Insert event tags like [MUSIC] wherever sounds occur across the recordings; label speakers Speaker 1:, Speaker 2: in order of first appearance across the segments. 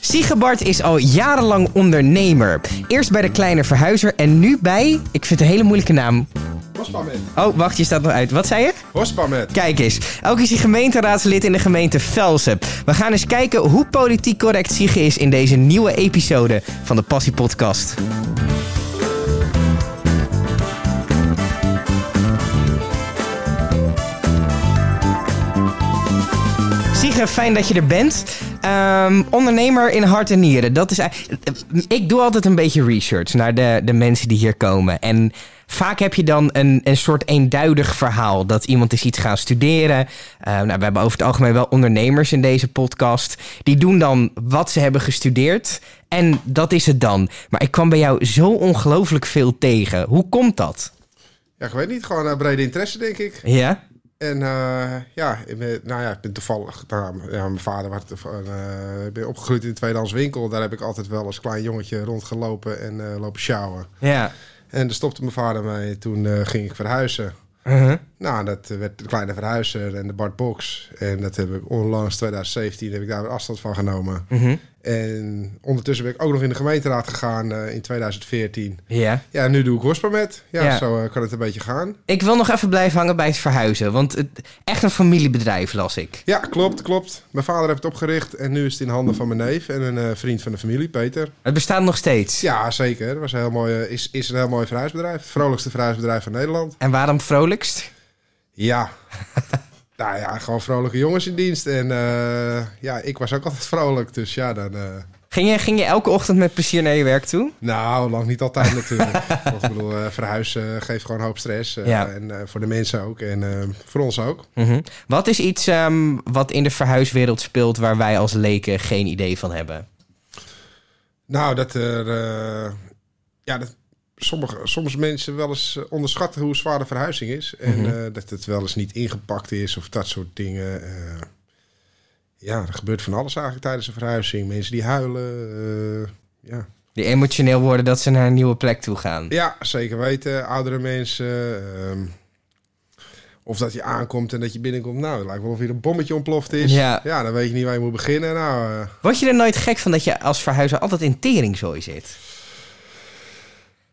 Speaker 1: Siegebart is al jarenlang ondernemer. Eerst bij de kleine verhuizer en nu bij... Ik vind het een hele moeilijke naam.
Speaker 2: Hospamet.
Speaker 1: Oh, wacht, je staat nog uit. Wat zei je?
Speaker 2: Hospamet.
Speaker 1: Kijk eens, ook is hij gemeenteraadslid in de gemeente Velsen. We gaan eens kijken hoe politiek correct Siege is in deze nieuwe episode van de Passie Podcast. Siege, fijn dat je er bent. Ehm, ondernemer in hart en nieren. Dat is, eigenlijk- ik doe altijd een beetje research naar de, de mensen die hier komen. En vaak heb je dan een, een soort eenduidig verhaal. Dat iemand is iets gaan studeren. Ehm, nou, we hebben over het algemeen wel ondernemers in deze podcast. Die doen dan wat ze hebben gestudeerd. En dat is het dan. Maar ik kwam bij jou zo ongelooflijk veel tegen. Hoe komt dat?
Speaker 2: Ja, ik weet niet. Gewoon eh, brede interesse, denk ik.
Speaker 1: Ja?
Speaker 2: En eh, ja, ik ben, nou ja, ik ben toevallig... Nou, ja, mijn vader was toevallig, eh, ik ben opgegroeid in een tweedehands winkel. Daar heb ik altijd wel als klein jongetje rondgelopen en eh, lopen sjouwen.
Speaker 1: Ja.
Speaker 2: En daar stopte mijn vader mee. Toen eh, ging ik verhuizen.
Speaker 1: Uh-huh.
Speaker 2: Nou, dat werd de kleine verhuizer en de Bart Box. En dat heb ik onlangs, 2017, heb ik daar weer afstand van genomen.
Speaker 1: Mhm.
Speaker 2: En ondertussen ben ik ook nog in de gemeenteraad gegaan eh, in 2014.
Speaker 1: Ja.
Speaker 2: Ja, nu doe ik Hospermet. Ja,
Speaker 1: Ja.
Speaker 2: zo eh, kan het een beetje gaan.
Speaker 1: Ik wil nog even blijven hangen bij het verhuizen. Want het, echt een familiebedrijf las ik.
Speaker 2: Ja, klopt, klopt. Mijn vader heeft het opgericht en nu is het in handen van mijn neef en een eh, vriend van de familie, Peter.
Speaker 1: Het bestaat nog steeds.
Speaker 2: Ja, zeker. Het was een heel mooi, eh, is, is een heel mooi verhuisbedrijf. Het vrolijkste verhuisbedrijf van Nederland.
Speaker 1: En waarom vrolijkst?
Speaker 2: Ja. nou ja, gewoon vrolijke jongens in dienst. En eh, ja, ik was ook altijd vrolijk. Dus ja, dan... eh,
Speaker 1: Ging je, ging je elke ochtend met plezier naar je werk toe?
Speaker 2: Nou, lang niet altijd natuurlijk. Want ik bedoel, eh, verhuizen eh, geeft gewoon een hoop stress. eh,
Speaker 1: Ja.
Speaker 2: En eh, voor de mensen ook. En eh, voor ons ook.
Speaker 1: Mhm. Wat is iets ehm, wat in de verhuiswereld speelt waar wij als leken geen idee van hebben?
Speaker 2: Nou, dat er... eh, ja, dat sommige, soms mensen wel eens eh, onderschatten hoe zwaar de verhuizing is. En eh, dat het wel eens niet ingepakt is of dat soort dingen. eh. ja, er gebeurt van alles eigenlijk tijdens een verhuizing. Mensen die huilen. eh, ja.
Speaker 1: Die emotioneel worden dat ze naar een nieuwe plek toe gaan.
Speaker 2: Ja, zeker weten. Oudere mensen. ehm, of dat je aankomt en dat je binnenkomt. Nou, het lijkt wel of hier een bommetje ontploft is.
Speaker 1: Ja.
Speaker 2: dan weet je niet waar je moet beginnen. Nou, eh,
Speaker 1: Word je er nooit gek van dat je als verhuizer altijd in teringzooi zit?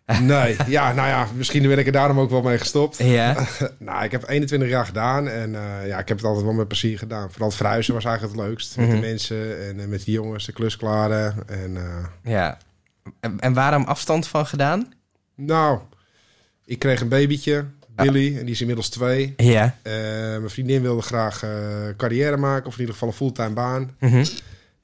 Speaker 2: eh, [LAUGHS] nee. ja, nou ja, misschien ben ik er daarom ook wel mee gestopt.
Speaker 1: Ja.
Speaker 2: nou, ik heb 21 jaar gedaan en eh, ja, ik heb het altijd wel met plezier gedaan. Vooral het verhuizen was eigenlijk het leukst. Met
Speaker 1: Mhm.
Speaker 2: de mensen en eh, met de jongens, de klusklaren. En eh,
Speaker 1: ja. En, en waarom afstand van gedaan?
Speaker 2: nou, ik kreeg een babytje, Billy, en die is inmiddels twee.
Speaker 1: Ja.
Speaker 2: Eh, mijn vriendin wilde graag eh, carrière maken, of in ieder geval een fulltime baan.
Speaker 1: Mhm.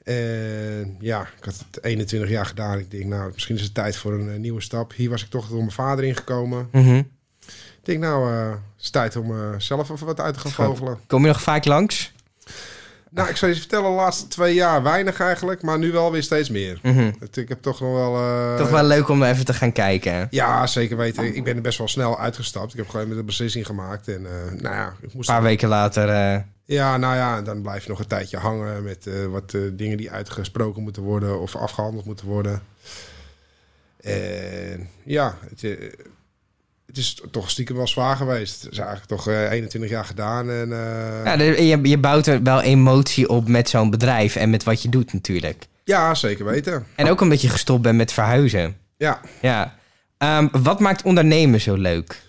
Speaker 2: En ja, ik had het 21 jaar gedaan. Ik denk, nou, misschien is het tijd voor een eh, nieuwe stap. Hier was ik toch door mijn vader ingekomen.
Speaker 1: Mhm.
Speaker 2: Ik denk, nou, eh, het is tijd om eh, zelf even wat uit te gaan
Speaker 1: Schat.
Speaker 2: vogelen.
Speaker 1: Kom je nog vaak langs?
Speaker 2: Nou, ik zou je vertellen, de laatste twee jaar weinig eigenlijk, maar nu wel weer steeds meer.
Speaker 1: Mhm.
Speaker 2: Het- Ik heb toch nog wel... eh,
Speaker 1: Toch wel leuk om even te gaan kijken.
Speaker 2: Ja, zeker weten. Ik ben er best wel snel uitgestapt. Ik heb gewoon met een beslissing gemaakt. En eh, nou ja, ik moest
Speaker 1: Een paar weken later. eh,
Speaker 2: Ja, nou ja, en dan blijf je nog een tijdje hangen met eh, wat eh, dingen die uitgesproken moeten worden of afgehandeld moeten worden. En ja, het, eh, het is toch stiekem wel zwaar geweest. Het is eigenlijk toch eh, 21 jaar gedaan en eh, ja.
Speaker 1: ja, de- je, je bouwt er wel emotie op met zo'n bedrijf en met wat je doet natuurlijk.
Speaker 2: zeker weten.
Speaker 1: En ook omdat je gestopt bent met verhuizen.
Speaker 2: Ja,
Speaker 1: Ja. Ehm, wat maakt ondernemen zo leuk?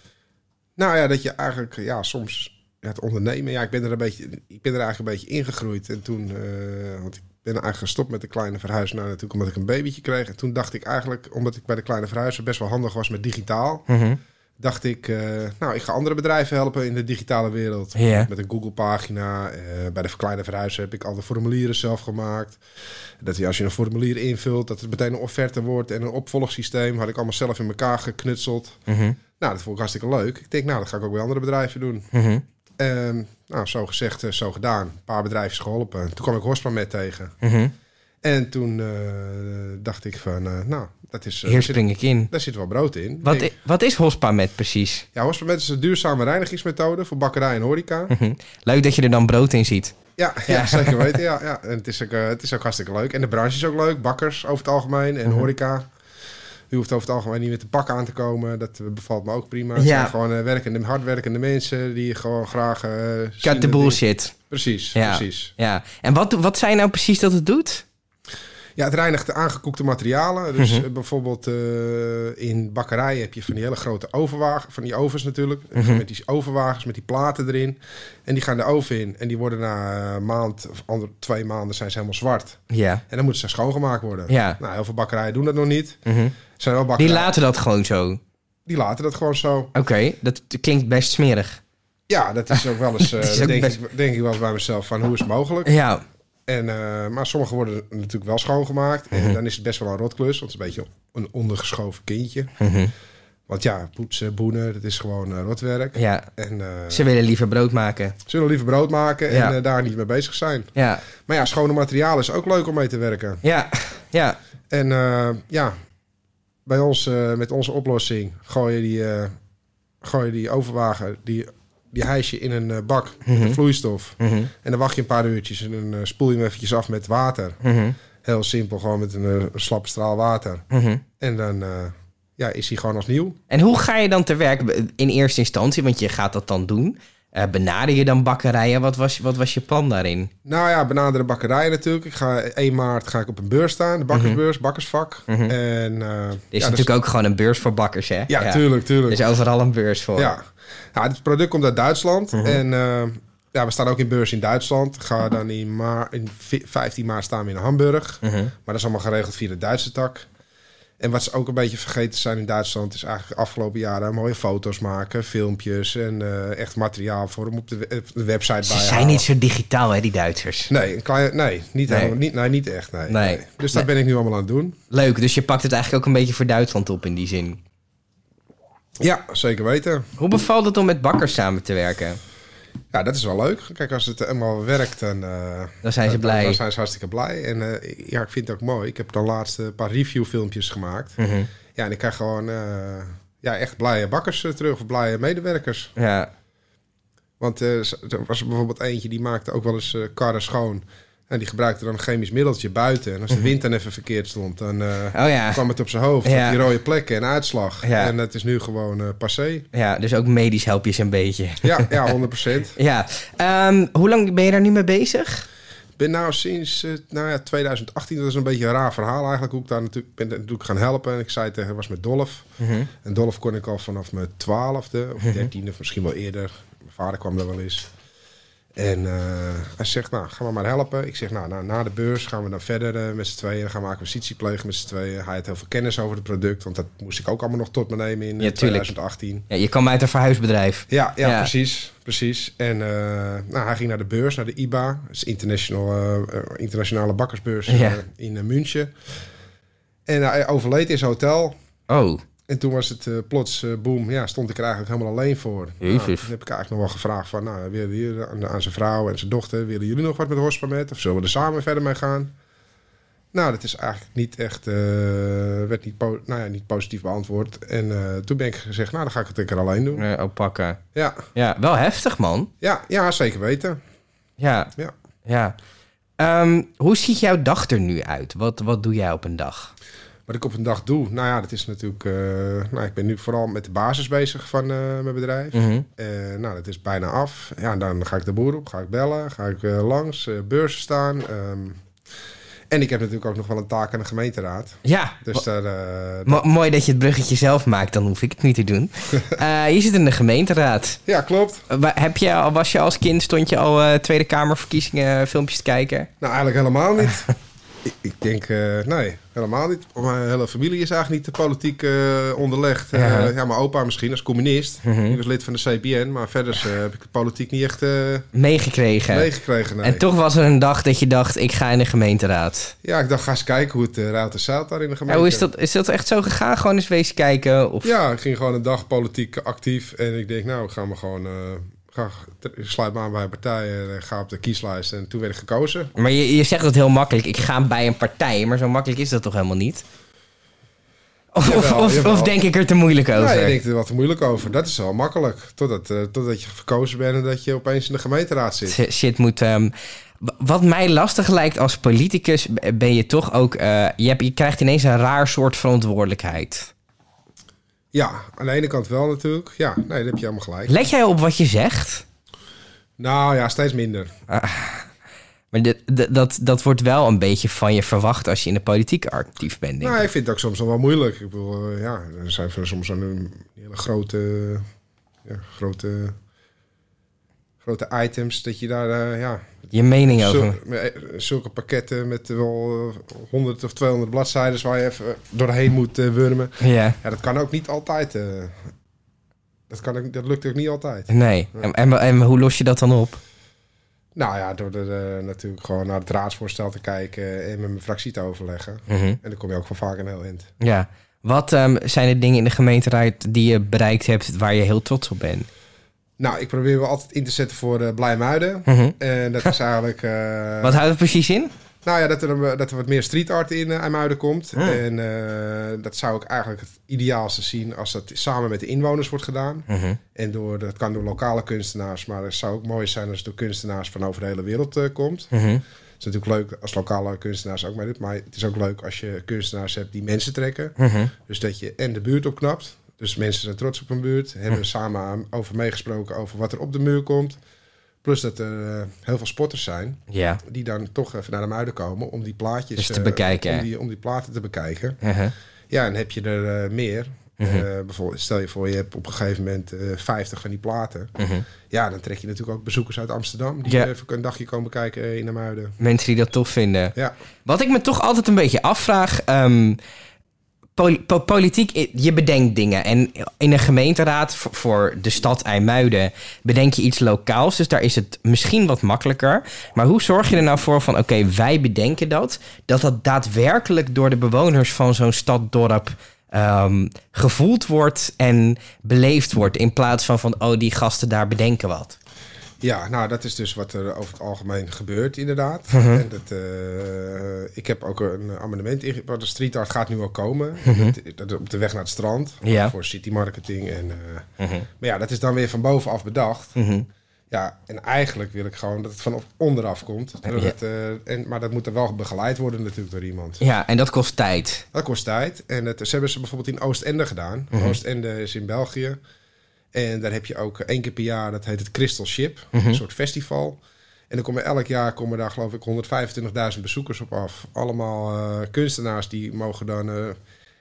Speaker 2: nou ja, dat je eigenlijk ja, soms ja, het ondernemen, ja, ik ben er een beetje, ik ben er eigenlijk een beetje ingegroeid en toen, eh, want ik ben eigenlijk gestopt met de kleine verhuizen naar natuurlijk omdat ik een babytje kreeg. En toen dacht ik eigenlijk, omdat ik bij de kleine verhuizen best wel handig was met digitaal.
Speaker 1: Mhm,
Speaker 2: dacht ik, eh, nou, ik ga andere bedrijven helpen in de digitale wereld.
Speaker 1: Ja.
Speaker 2: Met een Google-pagina. eh, bij de verkleine verhuizen heb ik al de formulieren zelf gemaakt. Dat je, als je een formulier invult, dat het meteen een offerte wordt en een opvolgsysteem. Had ik allemaal zelf in elkaar geknutseld.
Speaker 1: Mhm.
Speaker 2: Nou, dat vond ik hartstikke leuk. Ik denk, nou, dat ga ik ook bij andere bedrijven doen.
Speaker 1: Mhm.
Speaker 2: En, nou, zo gezegd, eh, zo gedaan. Een paar bedrijven is geholpen. Toen kwam ik Horstman met tegen.
Speaker 1: Mhm.
Speaker 2: En toen eh, dacht ik van, eh, nou, dat is, eh,
Speaker 1: Hier
Speaker 2: daar, zit,
Speaker 1: spring ik in.
Speaker 2: daar zit wel brood in.
Speaker 1: Wat,
Speaker 2: Ik-
Speaker 1: i- wat is Hospa met precies?
Speaker 2: Ja, Hospament is een duurzame reinigingsmethode voor bakkerij en horeca.
Speaker 1: Mhm. Leuk dat je er dan brood in ziet. [LAUGHS]
Speaker 2: Ja, ja, zeker weten. Ja, ja. En het is, ook, eh, het is ook hartstikke leuk. En de branche is ook leuk. Bakkers over het algemeen
Speaker 1: Hm.
Speaker 2: en horeca. U hoeft over het algemeen niet met de pak aan te komen. Dat bevalt me ook prima. Het
Speaker 1: Ja.
Speaker 2: zijn gewoon eh, werkende, hardwerkende mensen die gewoon graag... eh, zien
Speaker 1: Cut
Speaker 2: dat
Speaker 1: the
Speaker 2: ding-
Speaker 1: bullshit.
Speaker 2: Precies,
Speaker 1: Ja.
Speaker 2: precies.
Speaker 1: Ja. En wat, wat zei je nou precies dat het doet?
Speaker 2: Ja, het reinigt de aangekoekte materialen. Dus
Speaker 1: Mhm.
Speaker 2: eh, bijvoorbeeld eh, in bakkerijen heb je van die hele grote overwagen, van die ovens natuurlijk.
Speaker 1: Mhm.
Speaker 2: Eh, Met die overwagens, met die platen erin. En die gaan de oven in. En die worden na een maand of ander, twee maanden zijn ze helemaal zwart.
Speaker 1: Ja.
Speaker 2: En dan moeten ze schoongemaakt worden.
Speaker 1: Ja.
Speaker 2: Nou, heel veel bakkerijen doen dat nog niet.
Speaker 1: Mhm.
Speaker 2: Er Zijn wel
Speaker 1: Die
Speaker 2: bakkerijen, die,
Speaker 1: laten dat gewoon zo. Oké,
Speaker 2: laten dat gewoon zo.
Speaker 1: dat klinkt best smerig.
Speaker 2: Ja, dat is ook wel eens.
Speaker 1: [LAUGHS]
Speaker 2: eh,
Speaker 1: Dat is ook
Speaker 2: denk,
Speaker 1: best-
Speaker 2: ik, denk ik wel eens bij mezelf van hoe is het mogelijk?
Speaker 1: Ja.
Speaker 2: En, eh, maar sommige worden natuurlijk wel schoongemaakt.
Speaker 1: Mhm.
Speaker 2: En dan is het best wel een rotklus. Want het is een beetje een ondergeschoven kindje.
Speaker 1: Mhm.
Speaker 2: Want ja, poetsen, boenen, dat is gewoon eh, rotwerk.
Speaker 1: ja.
Speaker 2: En eh,
Speaker 1: Ze willen liever brood maken.
Speaker 2: ze willen liever brood maken en
Speaker 1: Ja.
Speaker 2: eh, daar niet mee bezig zijn.
Speaker 1: Ja.
Speaker 2: Maar ja, schone materialen is ook leuk om mee te werken.
Speaker 1: Ja. Ja.
Speaker 2: En eh, ja, bij ons, eh, met onze oplossing, gooi je die, eh, gooi je die overwagen, die, die hijs je in een eh, bak met vloeistof.
Speaker 1: Mhm.
Speaker 2: En dan wacht je een paar uurtjes en dan eh, spoel je hem eventjes af met water.
Speaker 1: Mhm.
Speaker 2: Heel simpel, gewoon met een, eh, een slappe straal water.
Speaker 1: Mhm.
Speaker 2: En dan eh, ja, is hij gewoon als nieuw.
Speaker 1: En hoe ga je dan te werk in eerste instantie? Want je gaat dat dan doen. Eh, benader je dan bakkerijen? Wat was, wat was je plan daarin?
Speaker 2: Nou ja, benaderen bakkerijen natuurlijk. Ik ga 1 maart ga ik op een beurs staan, de bakkersbeurs, bakkersvak. En eh,
Speaker 1: Er Mhm. is
Speaker 2: ja,
Speaker 1: natuurlijk ook gewoon een beurs voor bakkers, hè?
Speaker 2: ja, tuurlijk,
Speaker 1: Er
Speaker 2: tuurlijk.
Speaker 1: is overal een beurs voor.
Speaker 2: Ja. ja, het product komt uit Duitsland.
Speaker 1: Mhm.
Speaker 2: En eh, ja, we staan ook in beurs in Duitsland. Ga dan in, maar, in vi- 15 maart staan we in Hamburg.
Speaker 1: Mhm.
Speaker 2: Maar dat is allemaal geregeld via de Duitse tak. En wat ze ook een beetje vergeten zijn in Duitsland... is eigenlijk de afgelopen jaren mooie foto's maken, filmpjes... en eh, echt materiaal voor om op de, we- op de website
Speaker 1: Ze
Speaker 2: bij
Speaker 1: zijn niet zo digitaal, hè, die Duitsers.
Speaker 2: Nee, een klein, nee, niet,
Speaker 1: Nee.
Speaker 2: helemaal- niet, nee, niet echt. Nee.
Speaker 1: Nee.
Speaker 2: Dus dat ben ik nu allemaal aan het doen.
Speaker 1: Leuk, dus je pakt het eigenlijk ook een beetje voor Duitsland op in die zin.
Speaker 2: Ja, zeker weten.
Speaker 1: Hoe bevalt het om met bakkers samen te werken?
Speaker 2: Ja, dat is wel leuk. Kijk, als het helemaal werkt, dan, eh,
Speaker 1: Dan zijn ze
Speaker 2: dan-
Speaker 1: blij.
Speaker 2: Dan zijn ze hartstikke blij. En eh, ja, ik vind het ook mooi. Ik heb dan laatst een paar reviewfilmpjes gemaakt.
Speaker 1: Mhm.
Speaker 2: Ja, en ik krijg gewoon eh, ja, echt blije bakkers eh, terug, of blije medewerkers.
Speaker 1: Ja.
Speaker 2: Want eh, z- er was bijvoorbeeld eentje die maakte ook wel eens eh, karren schoon. En die gebruikte dan een chemisch middeltje buiten. En als de wind dan even verkeerd stond, dan eh,
Speaker 1: Oh Mhm. ja.
Speaker 2: kwam het op zijn hoofd.
Speaker 1: Ja.
Speaker 2: Die rode plekken en uitslag.
Speaker 1: Ja.
Speaker 2: En het is nu gewoon eh, passé.
Speaker 1: ja, dus ook medisch help je ze een beetje.
Speaker 2: Ja, ja 100
Speaker 1: Ja. Ehm, hoe lang ben je daar nu mee bezig?
Speaker 2: Ik ben nou sinds eh, nou ja, 2018, dat is een beetje een raar verhaal eigenlijk, hoe ik daar natuurlijk ben natuurlijk gaan helpen. En ik zei tegen, was met Dolf.
Speaker 1: Mhm.
Speaker 2: En Dolf kon ik al vanaf mijn twaalfde of dertiende, of misschien wel eerder. Mijn vader kwam daar wel eens. En eh, hij zegt, nou, gaan we maar helpen. Ik zeg, nou, nou, na de beurs gaan we dan verder eh, met z'n tweeën. Dan gaan we acquisitie plegen met z'n tweeën. Hij had heel veel kennis over het product, want dat moest ik ook allemaal nog tot me nemen in eh,
Speaker 1: Ja, tuurlijk.
Speaker 2: 2018.
Speaker 1: Ja, je kwam uit een verhuisbedrijf.
Speaker 2: Ja, ja,
Speaker 1: Ja.
Speaker 2: precies. precies. En eh, nou, hij ging naar de beurs, naar de IBA. Dat is international, eh, eh, internationale bakkersbeurs eh,
Speaker 1: Ja.
Speaker 2: in eh, München. En hij overleed in zijn hotel.
Speaker 1: Oh.
Speaker 2: En toen was het eh, plots eh boom. Ja, stond ik er eigenlijk helemaal alleen voor.
Speaker 1: Jezus.
Speaker 2: Nou, toen heb ik eigenlijk nog wel gevraagd van... Nou, willen jullie aan, aan zijn vrouw en zijn dochter... willen jullie nog wat met Hospamet? Of zullen we er samen verder mee gaan? Nou, dat is eigenlijk niet echt... eh, werd niet, po- nou ja, niet positief beantwoord. En eh, toen ben ik gezegd... Nou, dan ga ik het een keer alleen doen.
Speaker 1: Eh, oh, pakken.
Speaker 2: Ja,
Speaker 1: Ja, wel heftig, man.
Speaker 2: ja, ja zeker weten.
Speaker 1: Ja.
Speaker 2: Ja.
Speaker 1: Ja. Ehm, hoe ziet jouw dag er nu uit? Wat, wat doe jij op een dag?
Speaker 2: Wat ik op een dag doe, nou ja, dat is natuurlijk. eh, nou, ik ben nu vooral met de basis bezig van eh, mijn bedrijf.
Speaker 1: Mm.
Speaker 2: Eh, nou, dat is bijna af. Ja, en dan ga ik de boer op, ga ik bellen, ga ik eh, langs, eh, beurzen staan. ehm. en ik heb natuurlijk ook nog wel een taak aan de gemeenteraad.
Speaker 1: Ja,
Speaker 2: Dus
Speaker 1: wa-
Speaker 2: daar. eh,
Speaker 1: mo- mooi dat je het bruggetje zelf maakt, dan hoef ik het niet te doen. Eh, je zit in de gemeenteraad.
Speaker 2: ja, klopt.
Speaker 1: Eh, wa- Heb je, al- was je als kind, stond je al eh, Tweede Kamerverkiezingen eh, filmpjes te kijken?
Speaker 2: Nou, eigenlijk helemaal niet. [LAUGHS] ik, ik denk, eh, nee, helemaal niet. Mijn hele familie is eigenlijk niet de politiek eh, onderlegd. Eh,
Speaker 1: Ja. Mhm.
Speaker 2: ja. mijn opa misschien als communist. Die was lid van de CPN, maar verder eh, heb ik de politiek niet echt eh,
Speaker 1: Meegekregen.
Speaker 2: meegekregen. nee.
Speaker 1: En toch was er een dag dat je dacht, ik ga in de gemeenteraad.
Speaker 2: Ja, ik dacht, ga eens kijken hoe het uh, Raad en Zuid daar in de
Speaker 1: En
Speaker 2: gemeente...
Speaker 1: hoe is dat, is dat echt zo gegaan? Gewoon eens wezen kijken? Of...
Speaker 2: Ja, ik ging gewoon een dag politiek actief. En ik denk, nou, ik ga me gewoon... eh, ga, t- sluit me aan bij een partij en eh, ga op de kieslijst. En toen werd ik gekozen.
Speaker 1: Maar je, je zegt dat heel makkelijk. Ik ga bij een partij, maar zo makkelijk is dat toch helemaal niet? Of, of,
Speaker 2: Jawel,
Speaker 1: of,
Speaker 2: jawel.
Speaker 1: of denk ik er te moeilijk over?
Speaker 2: Nou, je denkt er wat moeilijk over. Dat is wel makkelijk. Totdat, eh, totdat je verkozen bent en dat je opeens in de gemeenteraad zit.
Speaker 1: Sh- Shit moet... ehm, w- wat mij lastig lijkt als politicus, b- ben je toch ook... eh, je, hebt, je krijgt ineens een raar soort verantwoordelijkheid.
Speaker 2: Ja, aan de ene kant wel natuurlijk. Ja, nee, daar heb je helemaal gelijk.
Speaker 1: Let jij op wat je zegt?
Speaker 2: Nou ja, steeds minder.
Speaker 1: Maar dit- d- dat, dat wordt wel een beetje van je verwacht als je in de politiek actief bent. Denk ik.
Speaker 2: Nou, ik vind het ook soms wel moeilijk. Ik bedoel, eh, ja, er zijn van soms een, een hele grote, ja, grote, grote items dat je daar, eh, ja,
Speaker 1: Je mening over.
Speaker 2: zulke, eh, zulke pakketten met wel eh, 100 of 200 bladzijden waar je even doorheen moet eh, wurmen.
Speaker 1: Ja.
Speaker 2: Ja, dat kan ook niet altijd. eh, dat, kan ook, dat lukt ook niet altijd.
Speaker 1: Nee. En, en, en hoe los je dat dan op?
Speaker 2: Nou ja, door er eh, natuurlijk gewoon naar het raadsvoorstel te kijken en met mijn fractie te overleggen.
Speaker 1: Mhm.
Speaker 2: En dan kom je ook wel vaak een heel eind.
Speaker 1: Ja. Wat ehm, zijn de dingen in de gemeenteraad die je bereikt hebt waar je heel trots op bent?
Speaker 2: Nou, ik probeer me altijd in te zetten voor eh Blijmuiden.
Speaker 1: Mhm.
Speaker 2: En dat is eigenlijk... eh,
Speaker 1: [LAUGHS] Wat houdt het precies in?
Speaker 2: Nou ja, dat er, een- dat er wat meer street art in eh, IJmuiden komt.
Speaker 1: Ah.
Speaker 2: En eh, dat zou ik eigenlijk het ideaalste zien als dat samen met de inwoners wordt gedaan.
Speaker 1: Mhm.
Speaker 2: En door, dat kan door lokale kunstenaars, maar het zou ook mooi zijn als het door kunstenaars van over de hele wereld eh, komt. Het is natuurlijk leuk als lokale kunstenaars ook meedoen, maar het is ook leuk als je kunstenaars hebt die mensen trekken. Dus dat je en de buurt opknapt. Dus mensen zijn trots op hun buurt,
Speaker 1: Hm.
Speaker 2: hebben samen aan- over meegesproken over wat er op de muur komt. Plus dat er eh, heel veel spotters zijn
Speaker 1: Ja.
Speaker 2: die dan toch even naar de muiden komen om die plaatjes
Speaker 1: Dus te
Speaker 2: eh,
Speaker 1: bekijken,
Speaker 2: Om
Speaker 1: hè?
Speaker 2: die, om die platen te bekijken.
Speaker 1: Mhm.
Speaker 2: Ja, en heb je er eh, meer. Eh, bijvoorbeeld, stel je voor, je hebt op een gegeven moment eh 50 van die platen. Ja, dan trek je natuurlijk ook bezoekers uit Amsterdam. Die
Speaker 1: Mhm. Ja.
Speaker 2: even een dagje komen kijken eh, in de Muiden.
Speaker 1: Mensen die dat tof vinden.
Speaker 2: Ja,
Speaker 1: Wat ik me toch altijd een beetje afvraag. ehm, poli- po- politiek, i- je bedenkt dingen. En in een gemeenteraad v- voor de stad IJmuiden bedenk je iets lokaals. Dus daar is het misschien wat makkelijker. Maar hoe zorg je er nou voor van, oké, wij bedenken dat. Dat dat daadwerkelijk door de bewoners van zo'n stad, dorp... ehm, gevoeld wordt en beleefd wordt. In plaats van van, oh, die gasten daar bedenken wat.
Speaker 2: ja, nou dat is dus wat er over het algemeen gebeurt inderdaad. En dat, eh, ik heb ook een amendement inge- want De street art gaat nu al komen. Dat- dat, op de weg naar het strand.
Speaker 1: Ja.
Speaker 2: Voor city marketing. En, eh, Maar ja, dat is dan weer van bovenaf bedacht. Ja, en eigenlijk wil ik gewoon dat het van op- onderaf komt. Dat het, eh, en, maar dat moet er wel begeleid worden natuurlijk door iemand.
Speaker 1: Ja, en dat kost tijd.
Speaker 2: Dat kost tijd. En het, ze hebben ze bijvoorbeeld in Oostende gedaan. Oostende is in België. En daar heb je ook één keer per jaar, dat heet het Crystal Ship. Een soort festival. En dan komen elk jaar komen daar geloof ik 125.000 bezoekers op af. Allemaal eh, kunstenaars die mogen dan, eh,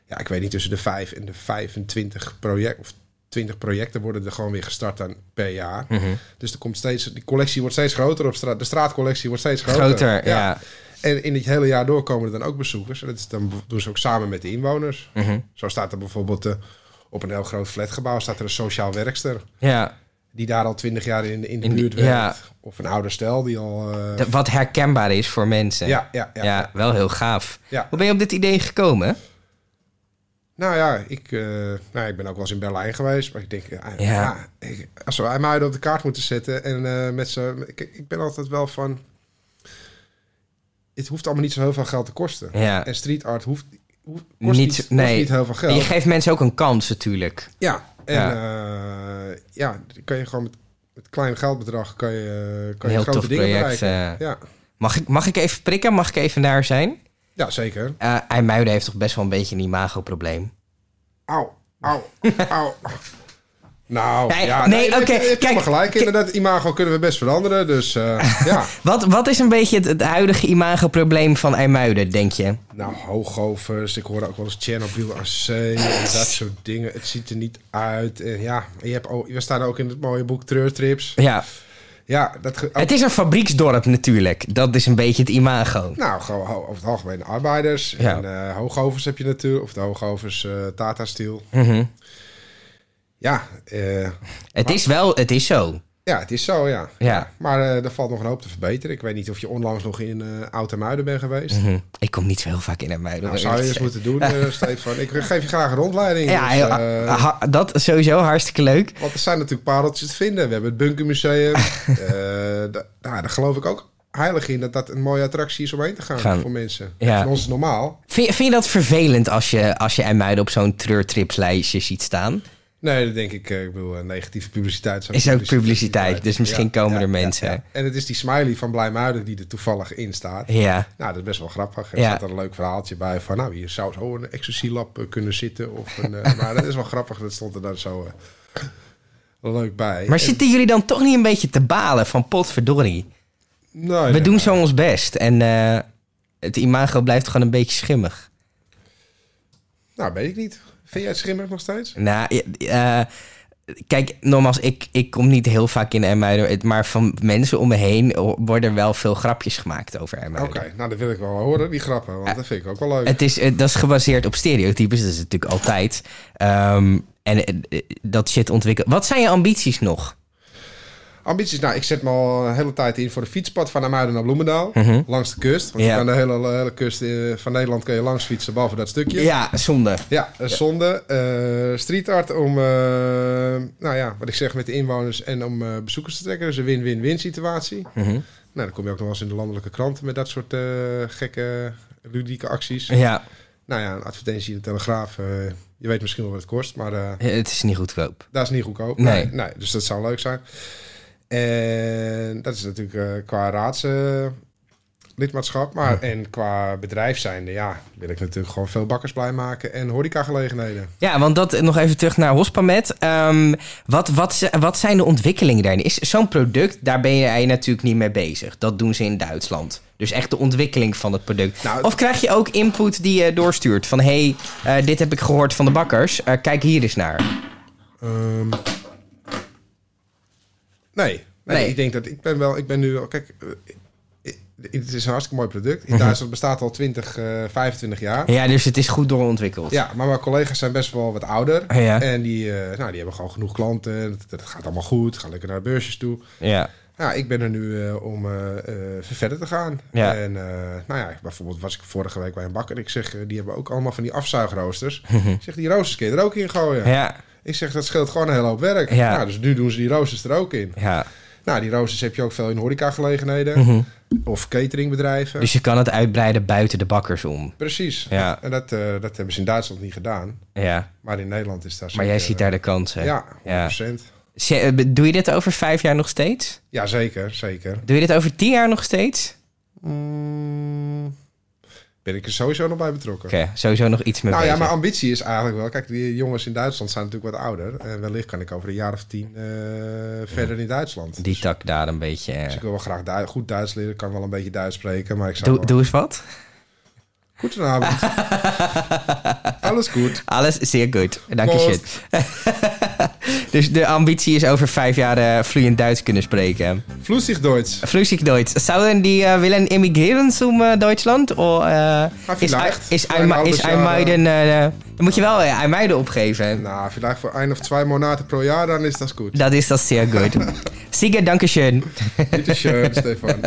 Speaker 2: ja, ik weet niet, tussen de 5 en de 25 projecten of 20 projecten worden er gewoon weer gestart aan per jaar. Dus er komt steeds, die collectie wordt steeds groter op straat. De straatcollectie wordt steeds groter.
Speaker 1: Groter, ja.
Speaker 2: En in het hele jaar door komen er dan ook bezoekers. En dat is dan doen ze ook samen met de inwoners.
Speaker 1: Mhm.
Speaker 2: Zo staat er bijvoorbeeld eh, op een heel groot flatgebouw staat er een sociaal werkster.
Speaker 1: Ja,
Speaker 2: Die daar al twintig jaar in, de- in de
Speaker 1: In die-
Speaker 2: buurt werkt.
Speaker 1: ja.
Speaker 2: Of een oude stel die al... eh,
Speaker 1: Dat- wat herkenbaar is voor mensen.
Speaker 2: ja, ja,
Speaker 1: Ja,
Speaker 2: ja, ja.
Speaker 1: wel heel gaaf.
Speaker 2: Ja.
Speaker 1: Hoe ben je op dit idee gekomen?
Speaker 2: Nou ja, ik, eh, nou, ja, ik ben ook wel eens in Berlijn geweest. Maar ik denk, ja,
Speaker 1: Ja.
Speaker 2: ja, ik- als we mij op de kaart moeten zetten. En eh, met z'n... Ik, ik ben altijd wel van... Het hoeft allemaal niet zo heel veel geld te kosten.
Speaker 1: Ja.
Speaker 2: En street art hoeft, hoeft- kost,
Speaker 1: Niet-
Speaker 2: niet, kost
Speaker 1: nee.
Speaker 2: niet heel veel geld.
Speaker 1: Je geeft mensen ook een kans natuurlijk.
Speaker 2: Ja, en
Speaker 1: Ja.
Speaker 2: ja, ja dan kan je gewoon met, met klein geldbedrag kan je, eh, kan
Speaker 1: Een heel
Speaker 2: je grote
Speaker 1: tof
Speaker 2: dingen
Speaker 1: project.
Speaker 2: bereiken.
Speaker 1: eh.
Speaker 2: Ja.
Speaker 1: mag, ik, mag ik even prikken? Mag ik even daar zijn?
Speaker 2: ja, zeker.
Speaker 1: Eh IJmuiden heeft toch best wel een beetje een imagoprobleem.
Speaker 2: Au, au,
Speaker 1: [LAUGHS]
Speaker 2: au. Nou,
Speaker 1: Nee,
Speaker 2: ja,
Speaker 1: nee, oké, kijk,
Speaker 2: kijk. Maar gelijk, inderdaad, imago kunnen we best veranderen.
Speaker 1: [LAUGHS]
Speaker 2: Dus eh, ja,
Speaker 1: Wat, wat is een beetje het, het huidige imagoprobleem van IJmuiden, denk je?
Speaker 2: nou, hoogovers. Ik hoorde ook wel eens Chernobyl AC
Speaker 1: [LAUGHS]
Speaker 2: en dat soort dingen. Het ziet er niet uit. En ja, en je hebt ook, we staan ook in het mooie boek Treurtrips.
Speaker 1: Ja,
Speaker 2: Ja, dat, ge-
Speaker 1: het is een fabrieksdorp natuurlijk. Dat is een beetje het imago.
Speaker 2: Nou, gewoon ho- over het algemeen arbeiders.
Speaker 1: Ja.
Speaker 2: En eh, hoogovers heb je natuurlijk. Of de hoogovers eh, Tata Steel.
Speaker 1: Mhm.
Speaker 2: Ja, eh,
Speaker 1: Het is wel, het is zo.
Speaker 2: ja, het is zo, ja.
Speaker 1: Ja.
Speaker 2: Maar eh, er valt nog een hoop te verbeteren. Ik weet niet of je onlangs nog in eh Oud en Muiden bent geweest.
Speaker 1: Hm, Ik kom niet zo heel vaak in IJmuiden.
Speaker 2: Nou,
Speaker 1: om
Speaker 2: zou je
Speaker 1: eerlijk
Speaker 2: eens
Speaker 1: te
Speaker 2: moeten
Speaker 1: [LAUGHS]
Speaker 2: doen, eh, Stefan. Ik geef je graag een rondleiding.
Speaker 1: Ja,
Speaker 2: dus,
Speaker 1: heel- Ah,
Speaker 2: eh,
Speaker 1: ha- dat is sowieso hartstikke leuk.
Speaker 2: want er zijn natuurlijk pareltjes te vinden. We hebben het
Speaker 1: [LAUGHS]
Speaker 2: Bunkermuseum. Eh, da- nou, daar geloof ik ook heilig in dat dat een mooie attractie is om heen te gaan,
Speaker 1: Gaan.
Speaker 2: voor mensen.
Speaker 1: Ja.
Speaker 2: Voor ons is het normaal.
Speaker 1: Vind, vind je dat vervelend als je, als je IJmuiden op zo'n treurtripslijstje ziet staan?
Speaker 2: Nee, dat denk ik. eh, Ik bedoel, eh, negatieve publiciteit is ook
Speaker 1: Is ook publiciteit, dus misschien
Speaker 2: Ja,
Speaker 1: komen
Speaker 2: ja,
Speaker 1: er
Speaker 2: ja,
Speaker 1: mensen.
Speaker 2: ja. En het is die smiley van Blijmuiden die er toevallig in staat.
Speaker 1: Ja.
Speaker 2: Nou, dat is best wel grappig. Er
Speaker 1: Ja.
Speaker 2: staat er een leuk verhaaltje bij van, nou, hier zou zo een ecstasy-lab eh, kunnen zitten. Of een, eh, [LAUGHS] maar dat is wel grappig, dat stond er dan zo eh, leuk bij.
Speaker 1: Maar
Speaker 2: En-
Speaker 1: Eh, zitten jullie dan toch niet een beetje te balen van potverdorie?
Speaker 2: Nou,
Speaker 1: We
Speaker 2: ja.
Speaker 1: doen zo ons best. En eh, het imago blijft gewoon een beetje schimmig.
Speaker 2: Nou, weet ik niet. Vind jij het schimmig nog steeds?
Speaker 1: Nou, eh, eh, kijk, nogmaals, ik, ik kom niet heel vaak in Emmuiden. het- Maar van mensen om me heen worden wel veel grapjes gemaakt over Emmuiden.
Speaker 2: Oké, nou dat wil ik wel horen, die grappen. Want dat vind ik ook wel leuk.
Speaker 1: Eh, Het is, eh, dat is gebaseerd op stereotypes, dat is natuurlijk altijd. Ehm, en eh, eh, dat shit ontwikkelen. Wat zijn je ambities nog?
Speaker 2: Ambities, nou, ik zet me al een hele tijd in voor de fietspad van Amuiden naar
Speaker 1: [LAUGHS]
Speaker 2: Bloemendaal. Langs de kust. Want
Speaker 1: Ja.
Speaker 2: je kan de hele, hele kust eh, van Nederland kun je langs fietsen, behalve dat stukje.
Speaker 1: Ja, zonde.
Speaker 2: Ja, eh, zonde. Eh, street art om, eh, nou ja, wat ik zeg met de inwoners en om eh, bezoekers te trekken. Dus een win-win-win situatie. Nou, dan kom je ook nog wel eens in de landelijke kranten met dat soort eh, gekke, ludieke acties.
Speaker 1: Ja,
Speaker 2: Nou ja, een advertentie in de Telegraaf. eh, je weet misschien wel wat het kost, maar eh,
Speaker 1: het is niet goedkoop.
Speaker 2: dat is niet goedkoop.
Speaker 1: Nee.
Speaker 2: nee. Dus dat zou leuk zijn. En dat is natuurlijk eh, qua raadslidmaatschap. maar en qua bedrijf zijnde, ja, wil ik natuurlijk gewoon veel bakkers blij maken en horecagelegenheden.
Speaker 1: Ja, want dat eh, nog even terug naar Hospamet. Ehm, wat, wat, z- wat zijn de ontwikkelingen daarin? Is zo'n product, daar ben jij natuurlijk niet mee bezig. Dat doen ze in Duitsland. Dus echt de ontwikkeling van het product.
Speaker 2: Nou,
Speaker 1: of krijg je ook input die je doorstuurt? Van hé, hey, eh, dit heb ik gehoord van de bakkers. Eh, kijk hier eens naar.
Speaker 2: Ehm, nee. Nee,
Speaker 1: Nee.
Speaker 2: ik denk dat ik ben wel, ik ben nu wel, kijk, eh, ik- ik- het is een hartstikke mooi product. In Duitsland bestaat al 20, eh, 25 jaar.
Speaker 1: Mhm. Ja, dus het is goed doorontwikkeld.
Speaker 2: Ja, maar mijn collega's zijn best wel wat ouder.
Speaker 1: Ja.
Speaker 2: En die, eh, nou, die hebben gewoon genoeg klanten. Dat, dat gaat allemaal goed. Gaan lekker naar de beursjes toe.
Speaker 1: ja.
Speaker 2: Ja, ik ben er nu eh, om eh, eh, verder te gaan.
Speaker 1: Ja.
Speaker 2: En eh, nou ja, bijvoorbeeld was ik vorige week bij een bakker. Ik zeg, eh, die hebben ook allemaal van die
Speaker 1: [LAUGHS]
Speaker 2: afzuigroosters. ik zeg, die roosters kun je er ook in gooien.
Speaker 1: Mhm. ja.
Speaker 2: Ik zeg, dat scheelt gewoon een hele hoop werk.
Speaker 1: Ja.
Speaker 2: Nou, dus nu doen ze die roosters er ook in.
Speaker 1: Ja,
Speaker 2: Nou, die roosters heb je ook veel in horecagelegenheden. Of cateringbedrijven.
Speaker 1: Mhm. dus je kan het uitbreiden buiten de bakkers om.
Speaker 2: Precies.
Speaker 1: Ja.
Speaker 2: En dat, eh, dat hebben ze in Duitsland niet gedaan.
Speaker 1: Ja,
Speaker 2: Maar in Nederland is dat
Speaker 1: maar jij
Speaker 2: zeker, eh,
Speaker 1: ziet daar de kansen.
Speaker 2: Ja, 100%.
Speaker 1: Ja.
Speaker 2: Ja,
Speaker 1: Z- eh, Doe je dit over vijf jaar nog steeds?
Speaker 2: zeker, zeker.
Speaker 1: Doe je dit over tien jaar nog steeds?
Speaker 2: Mm, Ben ik er sowieso nog bij betrokken.
Speaker 1: Oké, sowieso nog iets meer
Speaker 2: Nou ja,
Speaker 1: bezig.
Speaker 2: mijn ambitie is eigenlijk wel... Kijk, die jongens in Duitsland zijn natuurlijk wat ouder. En wellicht kan ik over een jaar of tien eh, verder in Duitsland.
Speaker 1: Die
Speaker 2: dus,
Speaker 1: tak daar een beetje... eh.
Speaker 2: dus ik wil wel graag Du- goed Duits leren. Ik kan wel een beetje Duits spreken, maar ik zou
Speaker 1: Doe,
Speaker 2: wel-
Speaker 1: doe eens wat.
Speaker 2: Goedenavond.
Speaker 1: [LAUGHS]
Speaker 2: Alles goed.
Speaker 1: Alles zeer goed. Dank je
Speaker 2: Proost.
Speaker 1: shit. [LAUGHS] dus de ambitie is over vijf jaar eh, vloeiend Duits kunnen spreken.
Speaker 2: Vloestig Duits.
Speaker 1: Vloeiend Duits. Zouden die eh, willen emigreren naar Duitsland? Of, eh, is
Speaker 2: Nou, vielleicht.
Speaker 1: is,
Speaker 2: Mijn
Speaker 1: Alma- is
Speaker 2: ouders waren-
Speaker 1: IJmuiden... eh, eh, dan moet je wel eh, IJmuiden opgeven.
Speaker 2: Nou, vielleicht voor een of twee maanden pro jaar, dan is dat
Speaker 1: [LAUGHS]
Speaker 2: goed.
Speaker 1: Das ist das sehr gut. Sieger, danke schön.
Speaker 2: Dit is schön, Stefan.